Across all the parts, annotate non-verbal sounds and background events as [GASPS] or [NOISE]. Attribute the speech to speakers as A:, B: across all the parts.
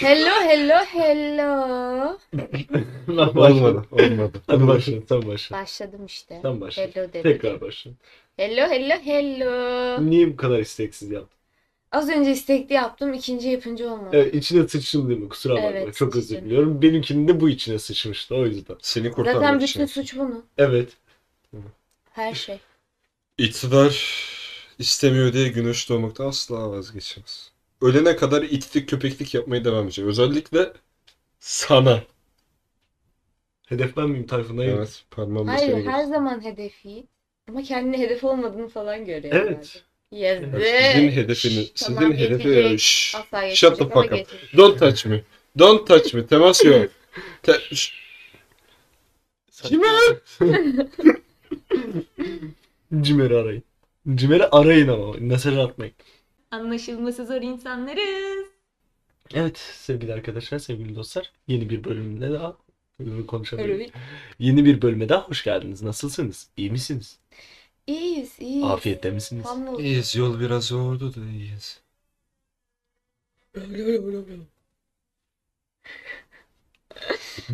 A: Hello hello hello.
B: Lan başla.
C: Olmadı. Olmadı.
B: Hadi başla. Tam başla.
A: Başladım işte.
B: Tam başla.
A: Hello dedim.
B: Tekrar başla.
A: Hello hello hello.
B: Niye bu kadar isteksiz yaptın?
A: Az önce istekli yaptım. ikinci yapınca olmadı.
B: Evet, içine sıçtım değil mi? Kusura bakma.
A: Evet,
B: Çok özür
A: sıçtım.
B: diliyorum. Benimkinin de bu içine sıçmıştı o yüzden.
C: Seni kurtarmak
A: Zaten şey-
C: için.
A: bütün suç bunun.
B: Evet.
A: Her şey.
C: İktidar istemiyor diye güneş doğmakta asla vazgeçmez. Ölene kadar itlik köpeklik yapmaya devam edecek. Özellikle sana.
B: Hedef ben miyim Tayfun? Hayır.
C: Evet, parmağımla seni
A: Hayır her
C: göster-
A: zaman hedefi. Ama kendine hedef olmadığını falan görüyor.
B: Evet.
A: herhalde. Yazık.
C: Sizin hedefiniz,
A: Şşş,
C: sizin
A: tamam,
C: hedefi
A: yetecek.
C: Şşş.
A: Asla
C: Shut the
A: yetecek ama
C: fuck up.
A: geçecek.
C: Don't touch me. Don't touch me. Temas yok. Te Şşş. Kime?
B: Cimer'i arayın. Cimer'i arayın ama. Mesaj atmayın.
A: Anlaşılması zor insanlarız.
B: Evet sevgili arkadaşlar, sevgili dostlar. Yeni bir bölümde daha konuşabiliriz.
A: Öyle bir.
B: Yeni bir bölüme daha hoş geldiniz. Nasılsınız? İyi misiniz?
A: İyiyiz iyiyiz.
B: Afiyette misiniz?
A: Hamdolsun.
C: İyiyiz. Yol biraz zordu da iyiyiz.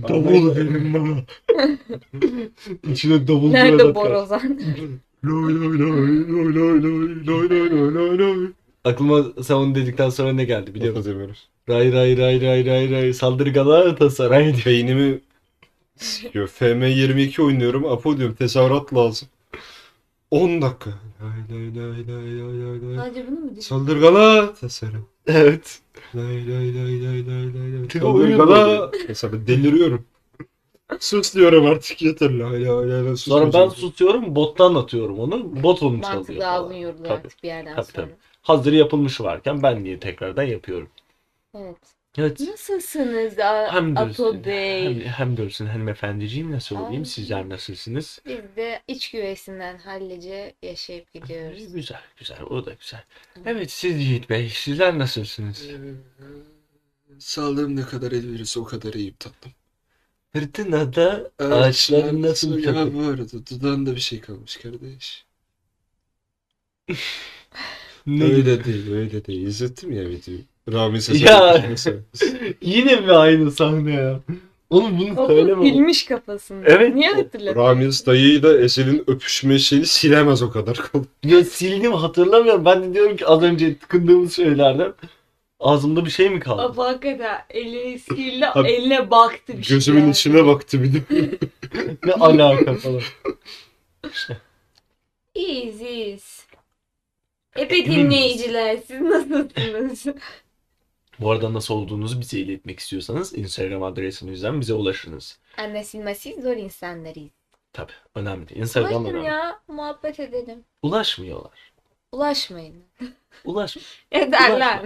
B: Davul verin [LAUGHS] bana. İçine davul
A: Nerede
B: duran
A: Borozan?
C: Loy loy loy loy loy loy loy loy loy loy loy.
B: Aklıma sen onu dedikten sonra ne geldi biliyor [LAUGHS] musun?
C: Biliyorum.
B: Ray ray ray ray ray ray saldır Galatasaray diye.
C: Beynimi sikiyor. [LAUGHS] FM22 oynuyorum. Apo diyorum tesavrat lazım. 10 dakika. Lay lay lay lay lay lay lay.
A: Sadece bunu mu diyorsun?
C: Saldır Galatasaray.
B: Evet.
C: Lay lay lay lay lay lay lay.
B: Te-
C: Saldır
B: oyun
C: Galatasaray. Deliriyorum. Sus diyorum artık yeter. Lay lay lay lay.
B: Sonra ben susuyorum bottan atıyorum onu. Bot onu çalıyor
A: Mantıklı
B: falan.
A: algın yoruluyor
B: Tabii.
A: artık bir yerden
B: Tabii,
A: sonra.
B: tabii. Hazır yapılmış varken ben niye tekrardan yapıyorum.
A: Evet.
B: Evet.
A: Nasılsınız A-
B: Hem
A: Apo
B: dönsün. Hem,
A: Bey?
B: hem dönsün hanımefendiciğim nasıl olayım
A: Ay.
B: sizler nasılsınız?
A: Biz de iç güveysinden hallice yaşayıp gidiyoruz.
B: Güzel güzel o da güzel. Evet siz Yiğit Bey sizler nasılsınız?
C: Saldırım ne kadar el verirse o kadar iyiyim tatlım.
B: Fırtınada ağaçların nasıl
C: Ya
B: takı?
C: bu arada dudağında bir şey kalmış kardeş.
B: Ne?
C: Öyle değil, öyle değil. İzlettim ya videoyu. Rami
B: Ya.
C: Sezer'in
A: [LAUGHS]
B: Yine mi aynı sahne ya? Oğlum bunu
A: O
B: söyleme.
A: bilmiş kafasında.
B: Evet.
A: Niye hatırladın?
C: Ramiz dayıyla Ezel'in öpüşme şeyini silemez o kadar.
B: Ya sildim hatırlamıyorum. Ben de diyorum ki az önce tıkındığımız şeylerden ağzımda bir şey mi kaldı?
A: Apo hakikaten eli sihirli
C: Abi,
A: eline baktı bir şey.
C: Gözümün
A: yani.
C: içine baktı bir de.
B: Ne alaka falan.
A: İyiyiz iyiyiz.
B: E,
A: Epe dinleyiciler siz
B: [LAUGHS]
A: nasılsınız?
B: Bu arada nasıl olduğunuzu bize iletmek istiyorsanız Instagram adresimizden bize ulaşınız.
A: Anlaşılması zor insanlarıyız.
B: Tabii önemli. Instagram
A: Ulaşın
B: önemli.
A: ya muhabbet edelim.
B: Ulaşmıyorlar.
A: Ulaşmayın.
B: Ulaş.
A: Ederler.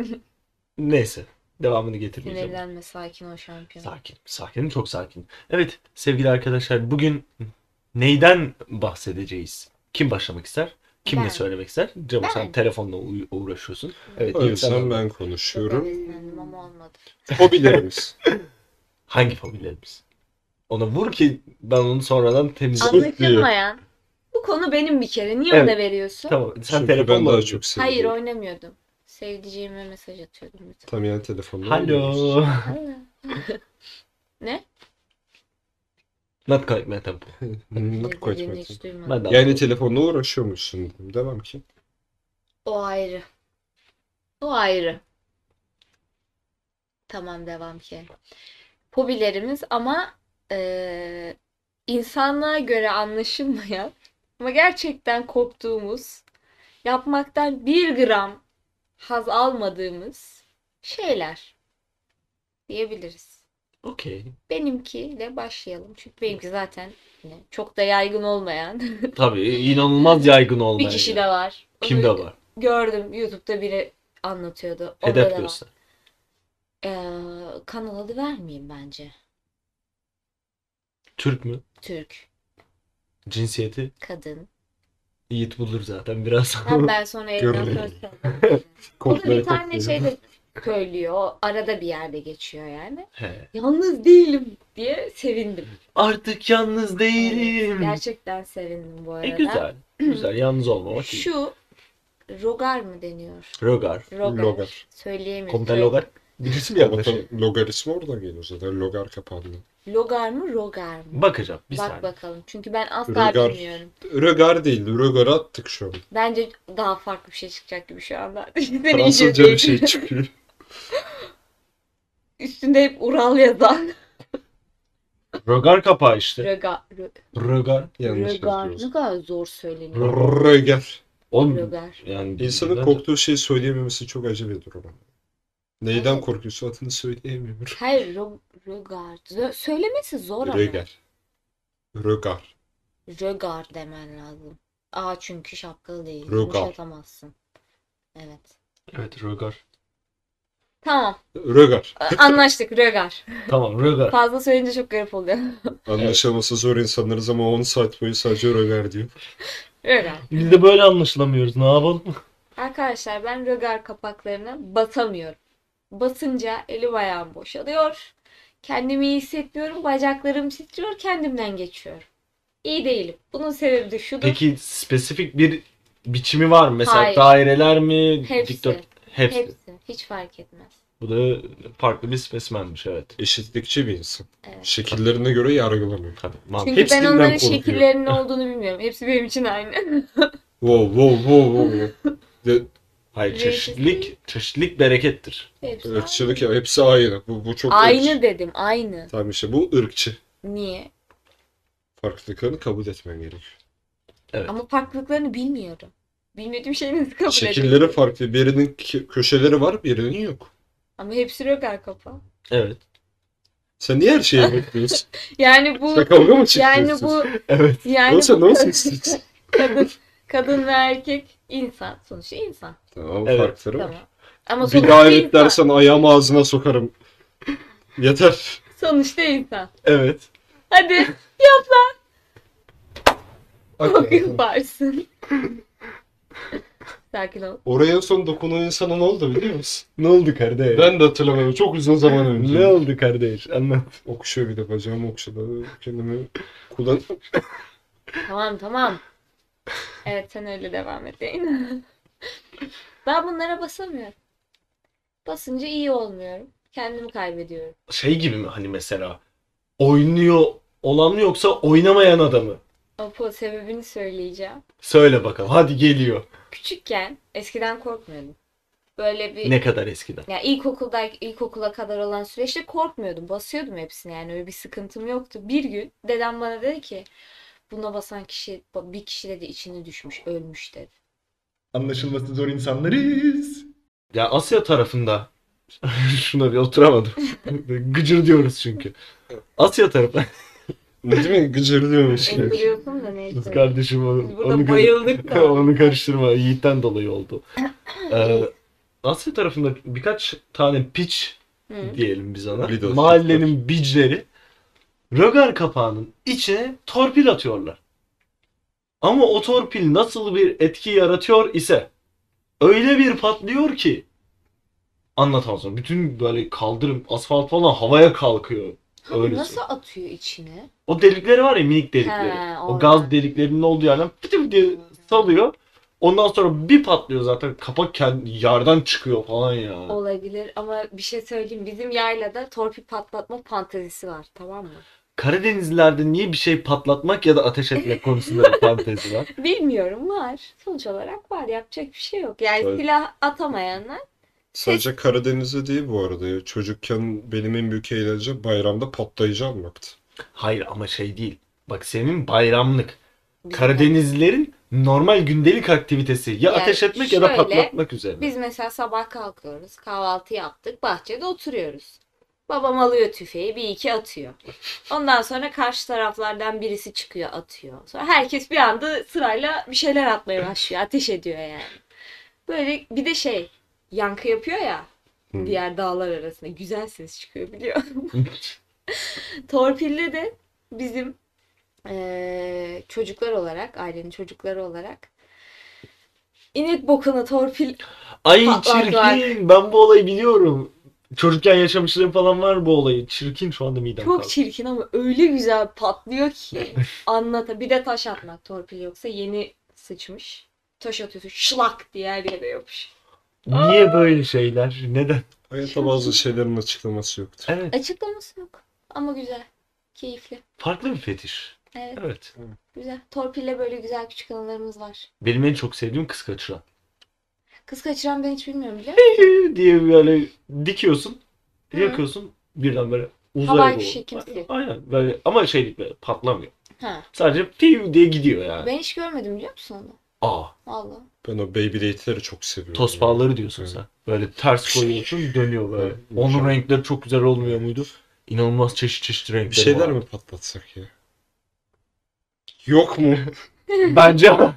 B: Neyse. Devamını getirmeyeceğim.
A: Sinirlenme sakin ol şampiyon.
B: Sakin. Sakin. Çok sakin. Evet sevgili arkadaşlar bugün neyden bahsedeceğiz? Kim başlamak ister? Kim
A: Ben.
B: ne söylemek ister? Cemo
A: Ben.
B: sen telefonla u- uğraşıyorsun. Evet.
C: O
B: ilk
C: yüzden
B: sen-
C: ben
A: Çok
C: konuşuyorum.
A: heveslendim ama olmadı. [LAUGHS]
C: Hobilerimiz.
B: Hangi fobilerimiz? Ona vur ki ben onu sonradan temizleyeyim.
C: Anlık-
A: Anlaşılmayan. Bu konu benim bir kere. Niye
B: Evet.
A: ona veriyorsun?
B: Tamam. Sen
C: Çünkü ben
B: telefonla
C: daha
B: oynuyorsun.
C: çok seviyorum.
A: Hayır oynamıyordum. Sevdiceğime mesaj atıyordum. lütfen.
C: Tam yani telefonla. oynuyoruz.
B: Hello.
A: Hala.
B: Not quite my tempo.
A: Ne
C: Not quite
A: dediğini
C: my
A: hiç
C: thing.
A: duymadım.
B: Ben de
C: Yani telefonla uğraşıyormuşsun. Devam ki.
A: O ayrı. O ayrı. Tamam devam ki. Hobilerimiz ama eee insanlığa göre anlaşılmayan [LAUGHS] ama gerçekten koptuğumuz, yapmaktan bir gram haz almadığımız şeyler diyebiliriz.
B: Okey.
A: Benimkiyle başlayalım. Çünkü benimki zaten yine çok da yaygın olmayan [LAUGHS]
B: Tabii inanılmaz yaygın olmayan.
A: bir kişi
B: yer.
A: de var.
B: Kimde
A: Onu
B: var?
A: gördüm YouTube'da biri anlatıyordu. Onda da
B: Hedef
A: var.
B: göster.
A: Ee, kanal adı vermeyeyim bence.
B: Türk mü?
A: Türk,
B: Cinsiyeti? [LAUGHS]
A: kadın.
B: Yiğit bulur zaten biraz.
A: Hem ben sonra evden
C: Görmedim.
A: söz söylerim. O da
C: Kodları
A: bir tane
C: kodluyorum.
A: şey de söylüyor. o Arada bir yerde geçiyor yani.
B: [LAUGHS] He.
A: Yalnız değilim diye sevindim.
B: Artık yalnız değilim.
A: Gerçekten sevindim bu
B: E
A: arada.
B: güzel. Güzel. Yalnız olmamak iyi.
A: Şu Rogar mı deniyor?
B: Rogar.
A: Rogar.
C: Logar.
A: Söyleyemiyorum.
B: Komutan Rogar. Birisi mi yaklaşıyor?
A: şey-
C: Bakalım logaritma oradan geliyor zaten. Logar kapandı.
A: Logar mı rogar mı?
B: Bakacağım bir
A: Bak
B: saniye.
A: bakalım. Çünkü ben asla
C: Rogar.
A: bilmiyorum.
C: Rögar değil. Rögar'ı attık şu an.
A: Bence daha farklı bir şey çıkacak gibi şu anda. [LAUGHS] Deneyeceğiz
C: Fransızca bir şey
A: diye.
C: çıkıyor.
A: Üstünde hep Ural
C: [LAUGHS]
A: yazan.
B: Rögar kapağı işte.
A: Rogar. Ro-
B: Rögar.
C: Şey, Yanlış
A: Rogar.
C: yazıyoruz.
A: Ne kadar zor söyleniyor.
C: Rögar.
B: Oğlum
A: Rogar.
B: yani
C: İnsanın
B: neden-
C: korktuğu şeyi söyleyememesi çok acı bir durum. Neyden korkuyorsa adını söyleyemiyor.
A: Hayır ro- rogar. Zö- söylemesi zor ama.
C: Rögar. Rögar.
A: Rögar demen lazım. A çünkü şapkalı değil.
C: Rogar.
A: Yumuşatamazsın. Evet.
B: Evet Rögar.
C: [LAUGHS]
A: Tamam.
C: Rögar.
A: A- Anlaştık Rögar.
B: Tamam Rögar.
A: Fazla söyleyince çok garip oluyor. [LAUGHS]
C: Anlaşılması zor insanlarız ama 10 saat boyu sadece Rögar diyor.
A: Rögar.
B: Biz de böyle anlaşılamıyoruz. Ne yapalım?
A: Arkadaşlar ben rögar kapaklarına basamıyorum. Basınca elim ayağım boşalıyor. Kendimi iyi hissetmiyorum. Bacaklarım titriyor. Kendimden geçiyorum. İyi değilim. Bunun sebebi de şudur.
B: Peki spesifik bir biçimi var mı? Mesela
A: Hayır.
B: daireler mi?
A: Hepsi.
B: Dikdört. Hepsi.
A: Hepsi. Hiç fark etmez.
B: Bu da farklı bir spesmenmiş evet.
C: Eşitlikçi bir insan.
A: Evet.
C: Şekillerine göre yargılamıyor.
B: Tabii. mantıklı.
A: Çünkü ben
C: Hepsinden
A: onların
C: korkuyor.
A: şekillerinin olduğunu bilmiyorum. Hepsi benim için aynı. [LAUGHS]
C: Wow wow wow wow. De,
B: Hayır
A: Renkli
B: çeşitlilik, çeşitlilik berekettir.
A: Hepsi
C: ırkçılık ya hepsi aynı. Bu, bu çok
A: aynı.
C: ırkçı.
A: Aynı dedim. Aynı.
C: Tamam işte bu ırkçı.
A: Niye?
C: Farklılıklarını kabul etmen gerekiyor.
B: Evet.
A: Ama farklılıklarını bilmiyorum. Bilmediğim şeyi nasıl kabul
C: Şekilleri
A: edeyim?
C: farklı. Birinin kö- köşeleri var birinin yok.
A: Ama hepsi rögar kapağı.
B: Evet.
C: Sen niye
A: [LAUGHS]
C: her şeye bekliyorsun?
A: Yani bu...
C: Sen kavga mı
A: Yani bu...
B: Evet.
A: Yani
C: Yani
A: bu
C: Olsa ne olsun [LAUGHS]
A: kadın-
C: istiyorsun?
A: kadın, kadın ve erkek insan. Sonuçta insan.
C: Tamam
B: Evet,
C: farkları var.
A: Tamam. Ama
C: Bir
A: sonuçta
C: daha
A: insan.
C: evet dersen ayağımı
A: [LAUGHS]
C: ağzına sokarım. Yeter.
A: Sonuçta insan.
B: Evet.
A: Hadi yaparsın. [LAUGHS] Sakin ol.
C: Oraya en son dokunan insana ne oldu biliyor musun?
B: Ne oldu kardeş?
C: Ben de hatırlamıyorum. Çok uzun zaman önce.
B: Ne oldu kardeş? Anlat.
C: Okşuyor bir de bacağımı okşadı. Kendimi kullan...
A: Tamam tamam. Evet sen öyle devam et. [LAUGHS] Zeynep. ben bunlara basamıyorum. Basınca iyi olmuyorum. Kendimi kaybediyorum.
B: Şey gibi mi hani mesela oynuyor olan mı yoksa oynamayan adamı?
A: Apo sebebini söyleyeceğim.
B: Söyle bakalım. Hadi geliyor.
A: Küçükken eskiden korkmuyordum. Böyle bir
B: Ne kadar eskiden?
A: Ya ilkokulda ilkokula kadar olan süreçte korkmuyordum. Basıyordum hepsini yani öyle bir sıkıntım yoktu. Bir gün dedem bana dedi ki buna basan kişi bir kişi dedi içine düşmüş, ölmüş dedi.
B: Anlaşılması zor insanlarız. Ya Asya tarafında [LAUGHS] şuna bir oturamadım. Gıcır diyoruz çünkü. Asya tarafı.
C: Ne demek gıcırlıyormuş ya.
A: Biliyorsun da neyse.
B: Kız kardeşim onu,
A: Biz burada
B: Şey- onu kar- [LAUGHS]
A: bayıldık da.
B: onu karıştırma. Yiğit'ten dolayı oldu. Ee, Asya tarafında birkaç tane piç
A: Hı.
B: diyelim biz ona.
C: Lidos,
B: Mahallenin bicleri rögar kapağının içine torpil atıyorlar. Ama o torpil nasıl bir etki yaratıyor ise öyle bir patlıyor ki anlatamam sana. Bütün böyle kaldırım, asfalt falan havaya kalkıyor.
A: Abi
B: Öyle
A: nasıl
B: söyle.
A: atıyor içine?
B: O delikleri var ya minik delikleri.
A: He,
B: Şey, O
A: oradan.
B: gaz deliklerinin olduğu yerden pıtım diye salıyor. Ondan sonra bir patlıyor zaten kapak kendi yerden çıkıyor falan ya.
A: Olabilir ama bir şey söyleyeyim. Bizim yaylada torpil patlatma fantezisi var tamam mı?
B: Karadenizlilerde niye bir şey patlatmak ya da
A: [LAUGHS]
B: ateş etmek konusunda bir fantezi var?
A: Bilmiyorum var. Sonuç olarak var. Yapacak bir şey yok. Yani
C: Evet.
A: silah atamayanlar
C: Sadece Karadeniz'de değil bu arada ya. Çocukken benim en büyük eğlence bayramda patlayıcı almaktı.
B: Hayır ama şey değil. Bak senin bayramlık.
A: bizim-
B: Karadenizlilerin normal gündelik aktivitesi ya
A: Yani
B: ateş etmek ya da
A: şöyle,
B: patlatmak üzerine.
A: Biz mesela sabah kalkıyoruz, kahvaltı yaptık, bahçede oturuyoruz. Babam alıyor tüfeği, bir iki atıyor. Ondan sonra karşı taraflardan birisi çıkıyor, atıyor. Sonra herkes bir anda sırayla bir şeyler atmaya başlıyor, ateş ediyor yani. Böyle bir de şey, yankı yapıyor ya
C: Hı.
A: diğer dağlar arasında. Güzel ses çıkıyor biliyor [LAUGHS] musun? Torpilli de bizim eee, çocuklar olarak, ailenin çocukları olarak inek bokunu torpil
B: [LAUGHS] Ay
A: patlatlar.
B: çirkin ben bu olayı biliyorum. Çocukken yaşamışlığım falan var bu olayı. Çirkin şu anda midem
A: Çok
B: kalktı.
A: çirkin ama öyle güzel patlıyor
B: [LAUGHS]
A: ki anlata. Bir de taş atmak torpil yoksa yeni sıçmış. Taş atıyorsun şlak diye her yere yapış.
B: Niye böyle şeyler? Neden?
C: Hayatta bazı şeylerin açıklaması yoktur.
B: Evet.
A: Açıklaması yok. Ama güzel. Keyifli.
B: Farklı bir fetiş.
A: Evet.
B: Evet.
A: Güzel. Torpille böyle güzel küçük anılarımız var.
B: Benim en çok sevdiğim kız kaçıran.
A: Kız kaçıran ben hiç bilmiyorum biliyor
B: Ee, diye böyle dikiyorsun.
A: Hı.
B: Yakıyorsun. Birden böyle uzaya
A: Havai
B: doğru.
A: fişek kimisi.
B: Aynen. Böyle, ama şey değil, böyle patlamıyor.
A: Ha.
B: Sadece piv diye gidiyor yani.
A: Ben hiç görmedim biliyor musun onu?
B: Aa.
A: Valla.
C: Ben o Beyblade'leri çok seviyorum.
B: Tospağları diyorsun sen. Böyle ters koyuyorsun dönüyor böyle.
C: Evet,
B: Onun
C: mükemmel.
B: renkleri çok güzel olmuyor muydu? İnanılmaz çeşit çeşit renkleri
C: Bir şeyler
B: var.
C: mi patlatsak ya? Yok mu?
B: [LAUGHS]
A: [LAUGHS]
B: Bence ama.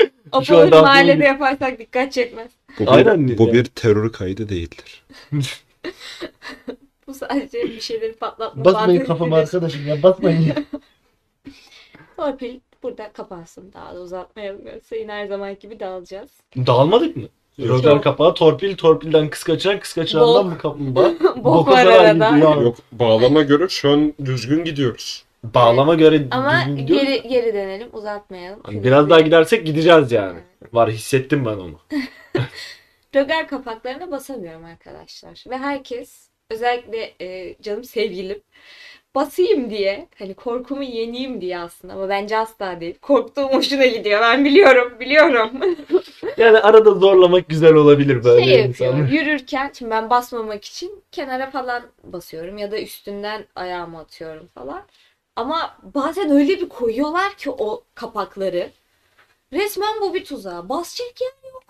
B: Şu
A: Apaları
B: anda
A: mahallede
B: aklım-
A: yaparsak dikkat çekmez.
C: Bu
B: Aynen.
C: terör kaydı değildir.
A: Bu sadece bir şeyleri patlatma.
B: Basmayın
A: bahanesiyle-
B: kafama arkadaşım ya basmayın ya.
A: Torpil burada kapansın. Daha da uzatmayalım. Yoksa yine her zaman gibi dağılacağız.
B: [LAUGHS] Dağılmadık mı?
C: Yok.
B: Radar kapağı torpil torpilden kız kaçıran kız kaçırandan
A: Bok.
B: mı kaplumbağa?
A: Bok
B: Boka
A: var
B: kadar
A: arada.
B: gidiyor.
C: Yok bağlama göre şu an düzgün gidiyoruz.
B: Bağlama göre
A: Ama
B: düzgün gidiyor.
A: geri, geri dönelim. Uzatmayalım.
B: Hani biraz daha gidersek gideceğiz yani. Var hissettim ben onu.
A: Rögar kapaklarına basamıyorum arkadaşlar. Ve herkes özellikle e, canım sevgilim basayım diye hani korkumu yeneyim diye aslında ama bence asla değil. Korktuğum hoşuna gidiyor. Ben biliyorum, biliyorum. [LAUGHS]
B: Yani arada zorlamak güzel olabilir böyle
A: şey yapıyorum.
B: insanlar.
A: Yürürken şimdi ben basmamak için kenara falan basıyorum ya da üstünden ayağımı atıyorum falan. Ama bazen öyle bir koyuyorlar ki o kapakları. Resmen bu bir tuzağa. Basacak yer yok.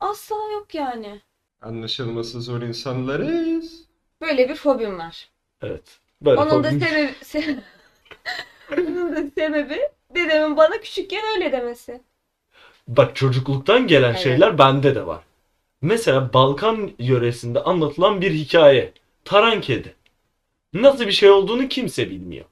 A: Asla yok yani.
C: Anlaşılması zor insanlarız.
A: Böyle bir fobim var.
B: Evet. Böyle
A: Onun da
B: korkunç.
A: sebebi [LAUGHS] se- Onun da sebebi dedemin bana küçükken öyle demesi.
B: Bak çocukluktan gelen
A: Evet.
B: şeyler bende de var. Mesela Balkan yöresinde anlatılan bir hikaye. Taran kedi. Nasıl bir şey olduğunu kimse bilmiyor.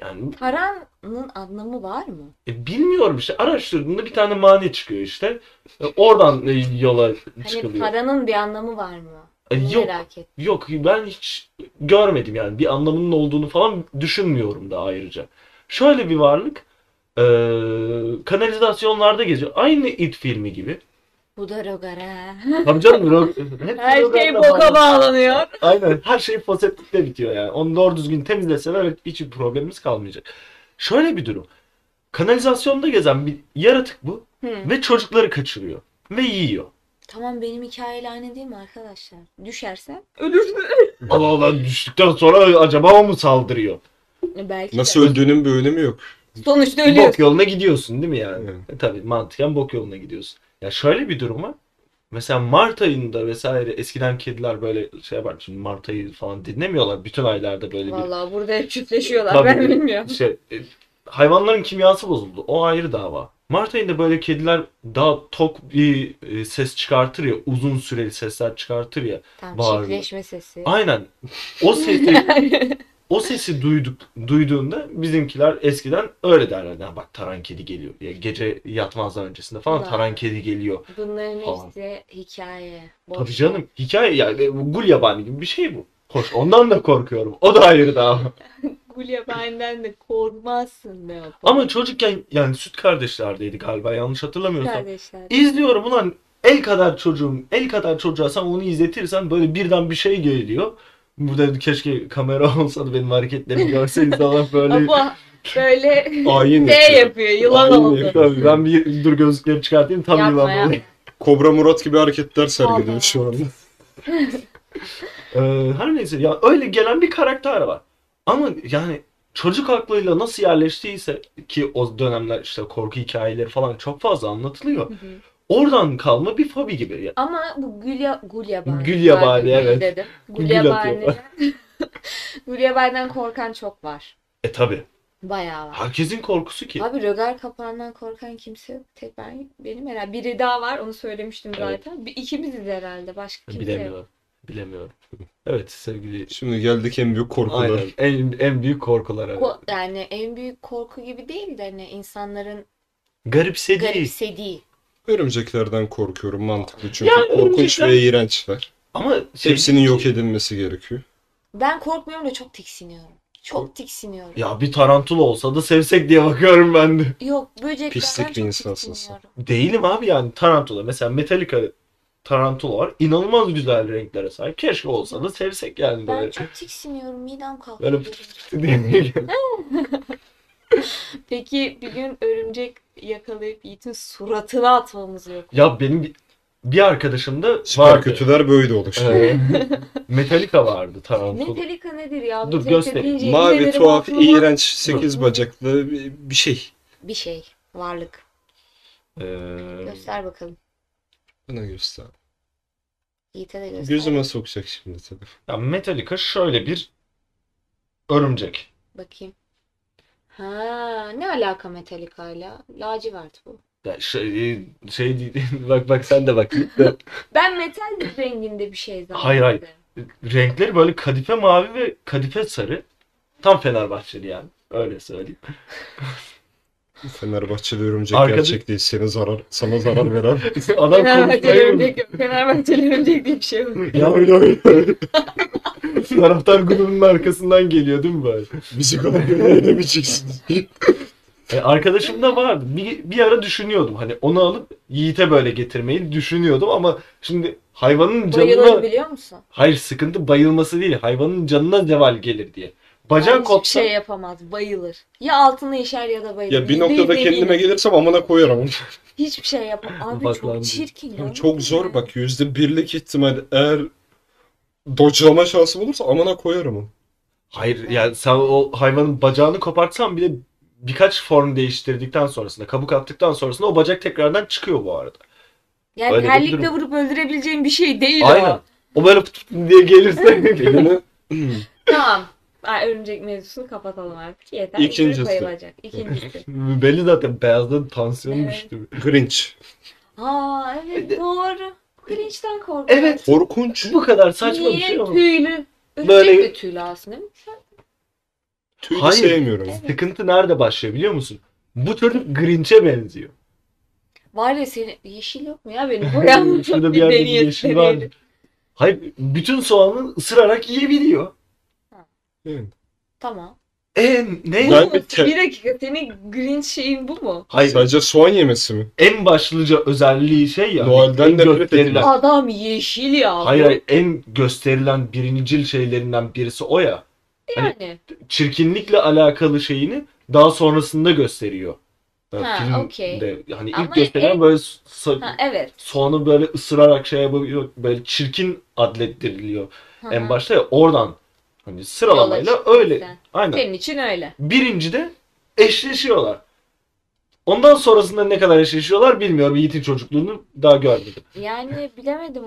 B: Yani
A: Taranın anlamı var mı?
B: e, bilmiyorum işte araştırdığında bir tane mani çıkıyor işte. E, oradan e, yola
A: Hani
B: çıkılıyor.
A: paranın bir anlamı var mı?
B: E,
A: Bunu
B: yok
A: merak ettim.
B: Yok ben hiç görmedim yani bir anlamının olduğunu falan düşünmüyorum da ayrıca. Şöyle bir varlık eee, kanalizasyonlarda geziyor. Aynı It filmi gibi.
A: Bu da rogara.
B: Tabii canım ro- hepsi
A: Her şey
B: programda
A: boka
B: bağlı.
A: bağlanıyor.
B: Aynen her şey foseptikte bitiyor yani. Onu doğru düzgün temizleseler hiçbir problemimiz kalmayacak. Şöyle bir durum. Kanalizasyonda gezen bir yaratık bu
A: Hı.
B: ve çocukları kaçırıyor ve yiyor.
A: Tamam benim hikayeyle aynı değil mi arkadaşlar? Düşersen ölürsün.
B: Allah Allah düştükten sonra acaba o mu saldırıyor?
A: E, Belki
C: Nasıl
A: de.
C: öldüğünün bir önemi yok.
A: Sonuçta
B: Bok
A: ölüyorsun.
B: yoluna gidiyorsun değil mi yani?
C: Evet.
B: E, tabii mantıken bok yoluna gidiyorsun. Ya şöyle bir durum var. Mesela Mart ayında vesaire eskiden kediler böyle şey var. Şimdi Mart ayı falan dinlemiyorlar. Bütün aylarda böyle
A: Vallahi burada hep çiftleşiyorlar.
B: Tabii.
A: Ben bilmiyorum.
B: bir şey. e, hayvanların kimyası bozuldu. O ayrı dava. Mart ayında böyle kediler daha tok bir e, ses çıkartır ya. Uzun süreli sesler çıkartır ya.
A: Tam
B: Bağırıyor.
A: çiftleşme sesi.
B: Aynen.
A: [LAUGHS]
B: O sesi o sesi duyduk duyduğunda bizimkiler eskiden öyle derlerdi. "Ha bak taran kedi geliyor diye. Gece yatmazdan öncesinde falan
A: Vay.
B: taran kedi geliyor.
A: Bunların
B: Falan.
A: hepsi hikaye. Boş
B: Tabii canım hikaye yani bu gul yabani gibi bir şey bu. Hoş ondan da korkuyorum. O da ayrı dava.
A: Gulyabani'den de korkmazsın be abla.
B: Ama çocukken yani süt kardeşlerdeydi galiba yanlış hatırlamıyorsam.
A: Kardeşler.
B: İzliyorum ulan el kadar çocuğum el kadar çocuğa sen onu izletirsen böyle birden bir şey geliyor. Burada keşke kamera [LAUGHS] olsaydı benim hareketlerimi görseniz falan böyle.
A: Ama
B: [LAUGHS]
A: böyle
C: Ayin
A: şey
C: yapıyor.
A: yapıyor. Yılan
C: Aynı
A: oldu.
C: yapıyor.
B: Tabii ben bir dur gözlüklerimi çıkartayım tam
A: Yapma
B: yılan
A: ya.
B: olayım.
C: Kobra Murat gibi hareketler sergiliyor
A: Vallahi.
C: şu anda.
B: Ee, her neyse ya öyle gelen bir karakter var. Ama yani çocuk aklıyla nasıl yerleştiyse ki o dönemler işte korku hikayeleri falan çok fazla anlatılıyor.
A: Hı hı.
B: Oradan kalma bir fobi gibi. Ya-
A: Ama bu Gülya, Gulyabani.
B: Gulyabani,
A: Pardon, Gül
B: evet.
A: Dedim.
B: Gül
A: Gulyabani.
B: atıyor.
A: [LAUGHS] Gulyabani'den korkan çok var.
B: E tabi.
A: Bayağı var.
B: Herkesin korkusu ki.
A: Abi rögar kapağından korkan kimse yok. Tek ben, benim herhalde. Biri daha var onu söylemiştim
B: Evet.
A: zaten. Bir, ikimiziz herhalde başka kimse yok.
B: Bilemiyorum. Bilemiyorum. Evet sevgili.
C: Şimdi geldik en büyük korkular.
B: Aynen. En, en büyük korkulara.
A: Ko- yani en büyük korku gibi değil de hani insanların
B: Garipsediği.
A: garipsediği.
C: Örümceklerden korkuyorum mantıklı çünkü
B: Yani
C: korkunç
B: örümcekler-
C: ve iğrençler.
B: Ama şey-
C: Hepsinin yok edilmesi gerekiyor.
A: Ben korkmuyorum da çok tiksiniyorum. Çok tiksiniyorum.
B: Ya bir tarantula olsa da sevsek diye bakıyorum ben de.
A: Yok böceklerden
C: Pislik bir
A: çok
C: insansın sen.
A: tiksiniyorum.
B: Değilim abi yani tarantula. Mesela Metallica tarantula var. İnanılmaz güzel renklere sahip. Keşke olsa da sevsek yani
A: Ben
B: böyle.
A: çok tiksiniyorum. Midem kalkıyor.
B: Böyle pıt pıt diye geliyor.
A: [LAUGHS] Peki bir gün örümcek yakalayıp Yiğit'in suratına atmamız yok. mu?
B: [LAUGHS] ya benim bir, bir arkadaşım da
C: Süper
B: vardı.
C: kötüler böyle oluştu.
B: Ee, Metallica vardı tarantula.
A: Metallica nedir ya?
B: Dur,
A: Metallica
B: göstereyim.
A: deyince
C: Mavi,
A: Şey, ellerim
C: tuhaf,
A: aklıma-
C: iğrenç, sekiz bacaklı bir bir şey.
A: Bir şey. Varlık.
B: Ee,
A: Göster bakalım.
C: Bana göster.
A: Yiğit'e de göster.
C: Gözüme sokacak şimdi telefon.
B: ya Metallica şöyle bir örümcek.
A: Bakayım. Ha, ne alaka Metallica ile? Lacivert bu.
B: Ya şey, şey değil. [LAUGHS] bak bak sen
A: [LAUGHS]
B: de bak.
A: Ben metal renginde bir şey zannettim.
B: Hayır, hayır. Renkleri böyle kadife mavi ve kadife sarı. Tam Fenerbahçeli yani. Öyle söyleyeyim. [LAUGHS]
C: Fenerbahçeli örümcek
B: Arkada-
C: gerçek değil. Seni zarar, sana
B: [LAUGHS]
C: zarar veren.
B: Adam
A: Fenerbahçeli
B: konuşmayı
A: örümcek, Fenerbahçeli örümcek diye bir şey yok.
B: Ya
C: öyle öyle.
B: taraftar grubunun arkasından geliyor değil mi böyle?
C: Bizi kadar böyle edemeyeceksiniz.
A: Ee,
B: E, arkadaşım da vardı. Bir, bir ara düşünüyordum hani onu alıp Yiğit'e böyle getirmeyi düşünüyordum ama şimdi hayvanın
A: Bayılır
B: canına...
A: biliyor musun?
B: Hayır sıkıntı bayılması değil. Hayvanın canına zeval gelir diye.
A: Bacak
B: Bacak kopsa...
A: şey yapamaz. Bayılır. Ya altını işer ya da bayılır.
C: ya bir
A: Değil,
C: noktada
A: değil, değil,
C: kendime
A: değil.
C: gelirsem amına koyarım.
A: Hiçbir şey yapamaz. Abi
B: Baklandı.
A: çok çirkin. ya.
C: Çok zor bak yüzde birlik ihtimal eğer dodge'lama şansım olursa amına koyarım onu.
B: Hayır yani sen o hayvanın bacağını kopartsan bile birkaç form değiştirdikten sonrasında, kabuk attıktan sonrasında o bacak tekrardan çıkıyor bu arada.
A: Yani
B: Öyle bir
A: terlikle
B: durum.
A: vurup öldürebileceğin bir şey değil
B: Aynen.
A: o.
B: O böyle pıt pıt diye gelirse
A: [LAUGHS]
C: Elini
A: Tamam. Ay, örümcek mevzusunu kapatalım artık. Yeter.
C: İkincisi.
A: Bayılacak. İkincisi.
B: belli zaten beyazdan tansiyon
A: Evet.
B: düştü.
C: Grinch.
A: Aa evet doğru. Grinch'ten korkuyorum.
B: E Evet.
C: Korkunç.
B: Bu kadar saçma
A: Niye
B: bir şey ama.
A: tüylü? Örümcek
B: Böyle-
A: de tüylü aslında değil mi?
C: Tüyü de
B: Hayır.
C: sevmiyorum.
B: Sıkıntı nerede başlıyor biliyor musun? Bu çocuk Grinch'e benziyor.
A: Var ya senin yeşil yok mu ya
B: [LAUGHS]
A: benim boyam?
B: Şurada bir yerde bir
A: deneyelim,
B: yeşil var.
A: deneyelim.
B: Hayır, bütün soğanı ısırarak yiyebiliyor.
C: Evet.
A: Tamam.
B: E ne?
C: Ben-
A: bir,
C: bir te-
A: bir dakika senin Grinch şeyin bu mu?
B: Hayır,
C: Sadece soğan yemesi mi?
B: en başlıca özelliği şey ya.
C: Noel'den
B: en
C: nefret
B: gösterilen-
C: ediyorum.
A: Adam yeşil ya.
B: Hayır hayır en gösterilen birincil şeylerinden birisi o ya.
A: Yani.
B: Çirkinlikle alakalı şeyini daha sonrasında gösteriyor. Yani
A: Ha,
B: filmde
A: okey.
B: hani ilk
A: Ama
B: gösterilen
A: en-
B: böyle so-
A: Ha, e- evet.
B: soğanı böyle ısırarak şey yapabiliyor. Böyle çirkin adlettiriliyor.
A: Hı
B: En
A: hı.
B: başta ya oradan hani
A: Yola
B: sıralamayla
A: çıktı
B: öyle.
A: sen.
B: Aynen.
A: Senin için öyle.
B: Birinci de eşleşiyorlar. Ondan sonrasında ne kadar eşleşiyorlar bilmiyorum. Yiğit'in çocukluğunu
A: [LAUGHS]
B: daha görmedim.
A: Yani bilemedim.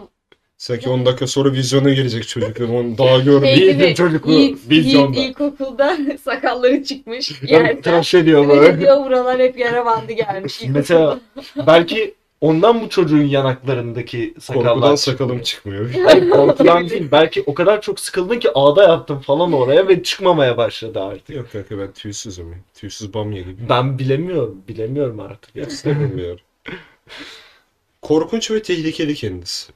C: Sanki 10 dakika sonra vizyona girecek çocuklar. Onu daha görmedim.
A: Şey
B: Yiğit'in
A: gibi,
B: çocukluğu,
A: Yiğit, Yiğit
B: vizyonda.
A: ilkokulda [LAUGHS] sakalları çıkmış.
B: Yani
A: Yerden.
B: tıraş ediyor
A: Ve
B: böyle.
A: diyor buralar hep yara bandı gelmiş.
B: Mesela belki ondan bu çocuğun yanaklarındaki sakallar
C: Korkudan
B: çıkıyor.
C: sakalım çıkmıyor. [LAUGHS]
B: Hayır korkudan değil. Belki o kadar çok sıkıldın ki ağda yaptın falan oraya ve çıkmamaya başladı artık.
C: Yok kanka ben tüysüzüm ya. Tüysüz bamya gibi.
B: Ben bilemiyorum. Bilemiyorum artık. [LAUGHS] Ya.
C: İstemiyorum Korkunç ve tehlikeli kendisi.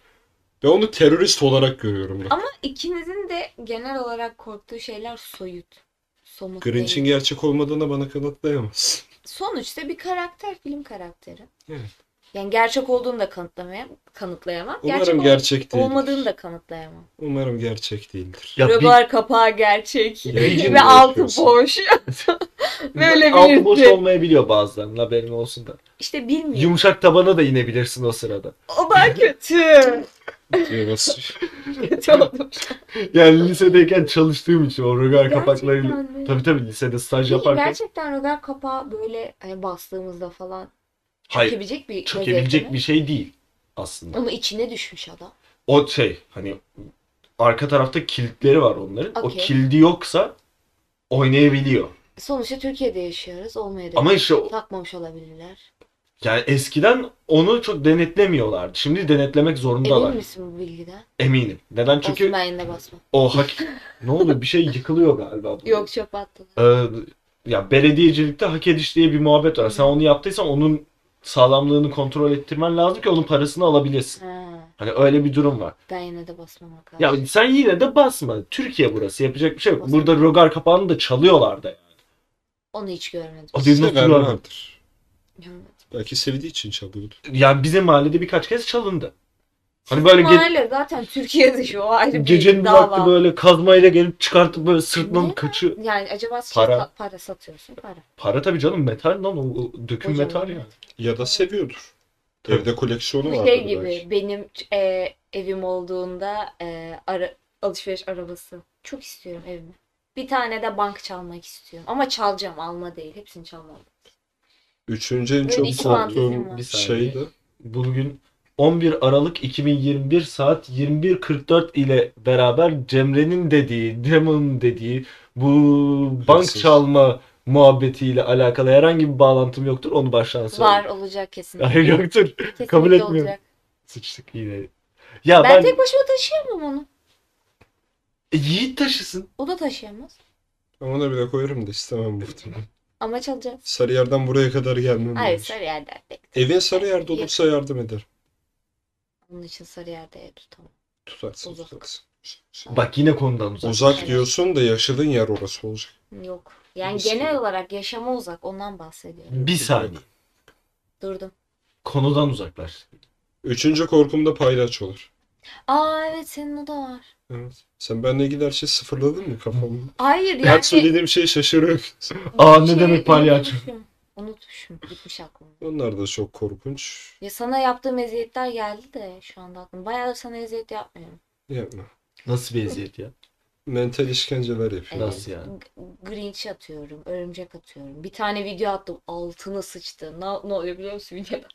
C: Ve onu terörist olarak görüyorum ben.
A: Ama ikinizin de genel olarak korktuğu şeyler soyut. Somut
C: Grinch'in
A: değil.
C: gerçek olmadığına bana kanıtlayamazsın.
A: Sonuçta bir karakter, film karakteri.
C: Evet.
A: Yani gerçek olduğunu da kanıtlamaya- kanıtlayamam. gerçek
C: Umarım
A: ol-
C: gerçek değildir.
A: olmadığını da kanıtlayamam.
C: Umarım
A: [LAUGHS]
C: gerçek değildir.
B: Ya bir-
A: Röbar kapağı gerçek
C: Ya
B: bir-
A: ve altı
C: yapıyorsun.
A: boş. Böyle
B: Altı boş
A: bilirsin.
B: olmayabiliyor bazılarının haberin olsun da.
A: İşte bilmiyorum.
B: Yumuşak tabana da inebilirsin o sırada.
A: O daha kötü.
C: Diye basıyor.
A: kötü oldum.
B: Yani lisedeyken çalıştığım için o rögar kapaklarıyla.
A: Gerçekten mi?
B: Tabii tabii lisede staj
A: Peki
B: yaparken
A: gerçekten rögar kapağı böyle hani bastığımızda falan
B: Hayır.
A: çökebilecek bir
B: çökebilecek
A: vaziyette
B: bir
A: mi?
B: şey değil aslında.
A: Ama içine düşmüş adam.
B: O şey hani arka tarafta kilitleri var onların. O
A: Okey.
B: kilidi yoksa oynayabiliyor.
A: Sonuçta Türkiye'de yaşıyoruz. Olmayabilir.
B: Ama işte o-
A: takmamış olabilirler.
B: yani eskiden onu çok denetlemiyorlardı. Şimdi denetlemek zorundalar.
A: Emin misin bu bilgiden?
B: Eminim. Neden?
A: Çünkü... Olsun
B: Çünkü
A: ben yine basma.
B: o hak...
A: [LAUGHS]
B: ne oluyor? Bir şey yıkılıyor galiba. burada.
A: Yok çöp attı.
B: Ee, ya belediyecilikte hak ediş diye bir muhabbet var. Sen onu yaptıysan onun sağlamlığını kontrol ettirmen lazım ki onun parasını alabilirsin.
A: Ha,
B: Hani öyle bir durum var.
A: ben yine de basmam arkadaşlar.
B: Ya sen yine de basma. Türkiye burası. Yapacak bir şey yok.
A: Basma.
B: Burada rogar kapağını da çalıyorlar da. yani.
A: Onu hiç görmedim.
B: O bir
C: Seven
B: notu var.
C: vardır. Belki sevdiği için çalıyordu.
B: Yani bizim mahallede birkaç kez çalındı. Hani böyle ge-
A: Mahalle zaten Türkiye dışı o ayrı bir
B: gecenin bir
A: dava.
B: vakti böyle kazmayla gelip çıkartıp böyle sırtlanıp
A: Ne?
B: kaçıyor.
A: Yani acaba
B: Para.
A: para. para satıyorsun para.
B: Para tabii canım metal lan o, o döküm
A: Kocaman.
B: metal ya.
C: Ya da seviyordur.
B: Tabii.
C: Evde koleksiyonu
A: Bu
C: vardır
A: şey gibi
C: belki.
A: benim e, evim olduğunda e, ara- alışveriş arabası. Çok istiyorum evimi. Bir tane de bank çalmak istiyorum. Ama çalacağım alma değil. Hepsini çalmam.
C: Üçüncü en
A: Böyle
C: çok
A: iki fantezim var.
C: korktuğum
B: Bir saniye.
C: şeydi.
B: Bugün 11 Aralık 2021 saat 21.44 ile beraber Cemre'nin dediği, Cem'in dediği bu bank
C: Hırsız.
B: çalma muhabbetiyle alakalı herhangi bir bağlantım yoktur. Onu baştan
A: Var
B: söyleyeyim.
A: olacak kesinlikle.
B: Hayır yoktur.
A: Kesinlikle
B: kabul etmiyorum.
A: olacak.
B: Sıçtık yine. Ya
A: Ben,
B: ben,
A: tek başıma taşıyamam onu.
B: E, Yiğit taşısın.
A: O da taşıyamaz.
C: Ama ona bile koyarım da istemem muhtemelen.
A: Ama çalacağız.
C: Sarıyer'den buraya kadar gelmem.
A: Hayır
C: lazım.
A: Sarıyer'de bekle.
C: Evin Sarıyer'de olursa yardım ederim.
A: Onun için Sarıyer'de ev tutamam.
C: Tutarsın
A: Uzak.
C: tutarsın.
B: Bak yine konudan uzak.
C: Uzak
A: Evet.
C: diyorsun da yaşadığın yer orası olacak.
A: Yok. Yani
C: Nasıl?
A: genel olarak yaşama uzak. Ondan bahsediyorum.
B: Bir saniye.
A: Durdum.
B: Konudan uzaklaş.
C: Üçüncü korkum da paylaş olur.
A: Aa evet senin o da var.
C: Evet. Sen benle gider şey sıfırladın mı kafamı?
A: Hayır yani.
C: Her söylediğim şey şaşırıyor.
B: Aa, ne
A: Şey,
B: demek palyaço?
A: Unutmuşum. Unutmuşum. Gitmiş aklım.
C: Onlar da çok korkunç.
A: Ya sana yaptığım eziyetler geldi de şu anda aklıma. Bayağıdır sana eziyet yapmıyorum.
C: Yapma.
B: Nasıl bir eziyet ya?
C: Mental işkenceler yapıyor.
B: Nasıl yani?
A: G- Grinch atıyorum, örümcek atıyorum. Bir tane video attım, altına sıçtı. Ne, ne oluyor biliyor musun videoda?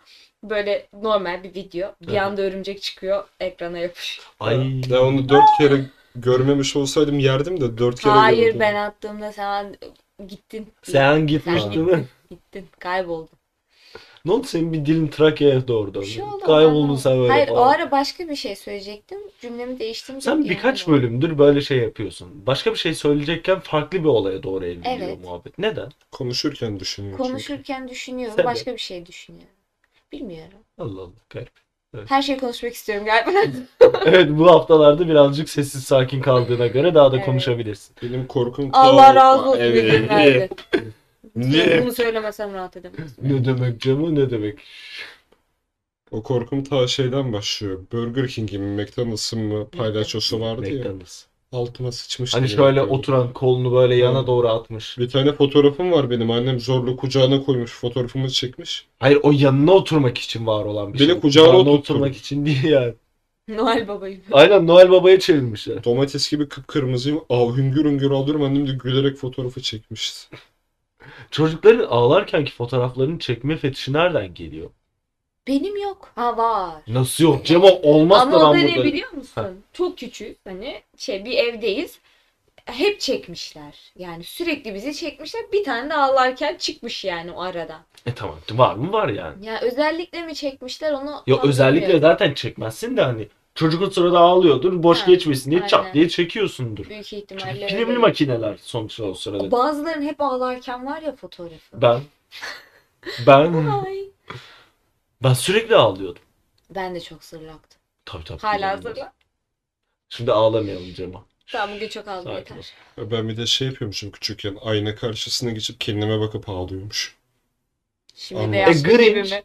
A: [LAUGHS] Böyle normal bir video. Bir
B: Hı.
A: anda örümcek çıkıyor, ekrana yapışıyor.
B: Ay.
C: Ben onu dört kere görmemiş olsaydım yerdim de dört kere
A: Hayır
C: gördüm.
A: ben attığımda sen gittin.
B: Sen gitmiştin.
A: gittin. Gittin, kayboldun.
B: Ne oldu senin bir dilin Trakya'ya doğru döndü.
A: Bir şey oldu.
B: Kayboldun
A: anlamadım.
B: sen böyle.
A: Hayır o
B: Aa.
A: ara başka bir şey söyleyecektim. Cümlemi değiştirdim.
B: Sen
A: ki
B: birkaç
A: yani.
B: bölümdür böyle şey yapıyorsun. Başka bir şey söyleyecekken farklı bir olaya doğru evriliyor
A: Evet.
B: muhabbet. Neden?
C: Konuşurken düşünüyorum çünkü.
A: Konuşurken düşünüyorum.
B: Sen de.
A: başka bir şey düşünüyorum. Bilmiyorum.
B: Allah Allah. garip. [LAUGHS]
A: Her şeyi konuşmak istiyorum galiba.
B: evet bu haftalarda birazcık sessiz sakin kaldığına göre daha
A: [LAUGHS]
B: da
A: Evet.
B: konuşabilirsin.
C: Benim korkum
A: Allah
C: tuhaf-
A: razı olsun.
C: Evet.
A: Evet,
B: [LAUGHS]
A: verdi.
C: Ne?
A: Bunu söylemesem rahat edemem.
B: Ne demek Cemo ne demek?
C: O korkum ta şeyden başlıyor. Burger King'in mi, McDonald's'ın mı paylaşosu vardı ya.
B: McDonald's.
C: Altıma sıçmıştı.
B: Hani
C: ya.
B: şöyle oturan kolunu böyle yana
C: Evet.
B: doğru atmış.
C: Bir tane fotoğrafım var benim. Annem zorla kucağına koymuş. Fotoğrafımı çekmiş.
B: Hayır o yanına oturmak için var olan bir
C: Beni
B: şey.
C: kucağına
B: Yanına
C: oturttu.
B: oturmak için değil yani.
A: [LAUGHS] Noel babayım.
B: Aynen Noel Baba'ya çevirmişler.
C: Domates gibi kıpkırmızıyım. Av hüngür hüngür alıyorum. Annem de gülerek fotoğrafı çekmişti.
B: Çocukların ağlarkenki fotoğraflarını çekme fetişi nereden geliyor?
A: Benim yok. Ha var.
B: Nasıl yok Cemo olmaz
A: Ama
B: da
A: o da
B: ben
A: ne
B: burada...
A: biliyor musun? Çok küçük. Hani şey bir evdeyiz. Hep çekmişler. Yani sürekli bizi çekmişler. Bir tane de ağlarken çıkmış yani o arada.
B: E tamam var mı var yani.
A: Ya özellikle mi çekmişler onu
B: Ya
A: tam
B: özellikle
A: bilmiyorum.
B: zaten çekmezsin de hani çocuk o sırada ağlıyordur boş
A: Ha,
B: geçmesin diye
A: aynen.
B: çat diye çekiyorsundur.
A: büyük
B: Çünkü
A: ihtimalle
B: filmli
A: öyle.
B: makineler sonuçta o sırada.
A: Bazıların hep ağlarken var ya fotoğrafı.
B: Ben ben
A: Ay.
B: ben sürekli ağlıyordum.
A: Ben de çok sırlaktım.
B: Tabii tabii.
A: Hala
B: inanılmaz.
A: zırlak.
B: Şimdi ağlamayalım Cemo.
A: Tamam bugün çok aldım
B: Sakin
A: yeter.
B: ol.
C: Ben bir de şey yapıyormuşum küçükken. Ayna karşısına geçip kendime bakıp ağlıyormuş.
A: Şimdi
C: Anladım.
B: E,
A: beyaz
B: Grinch.
A: gibi mi?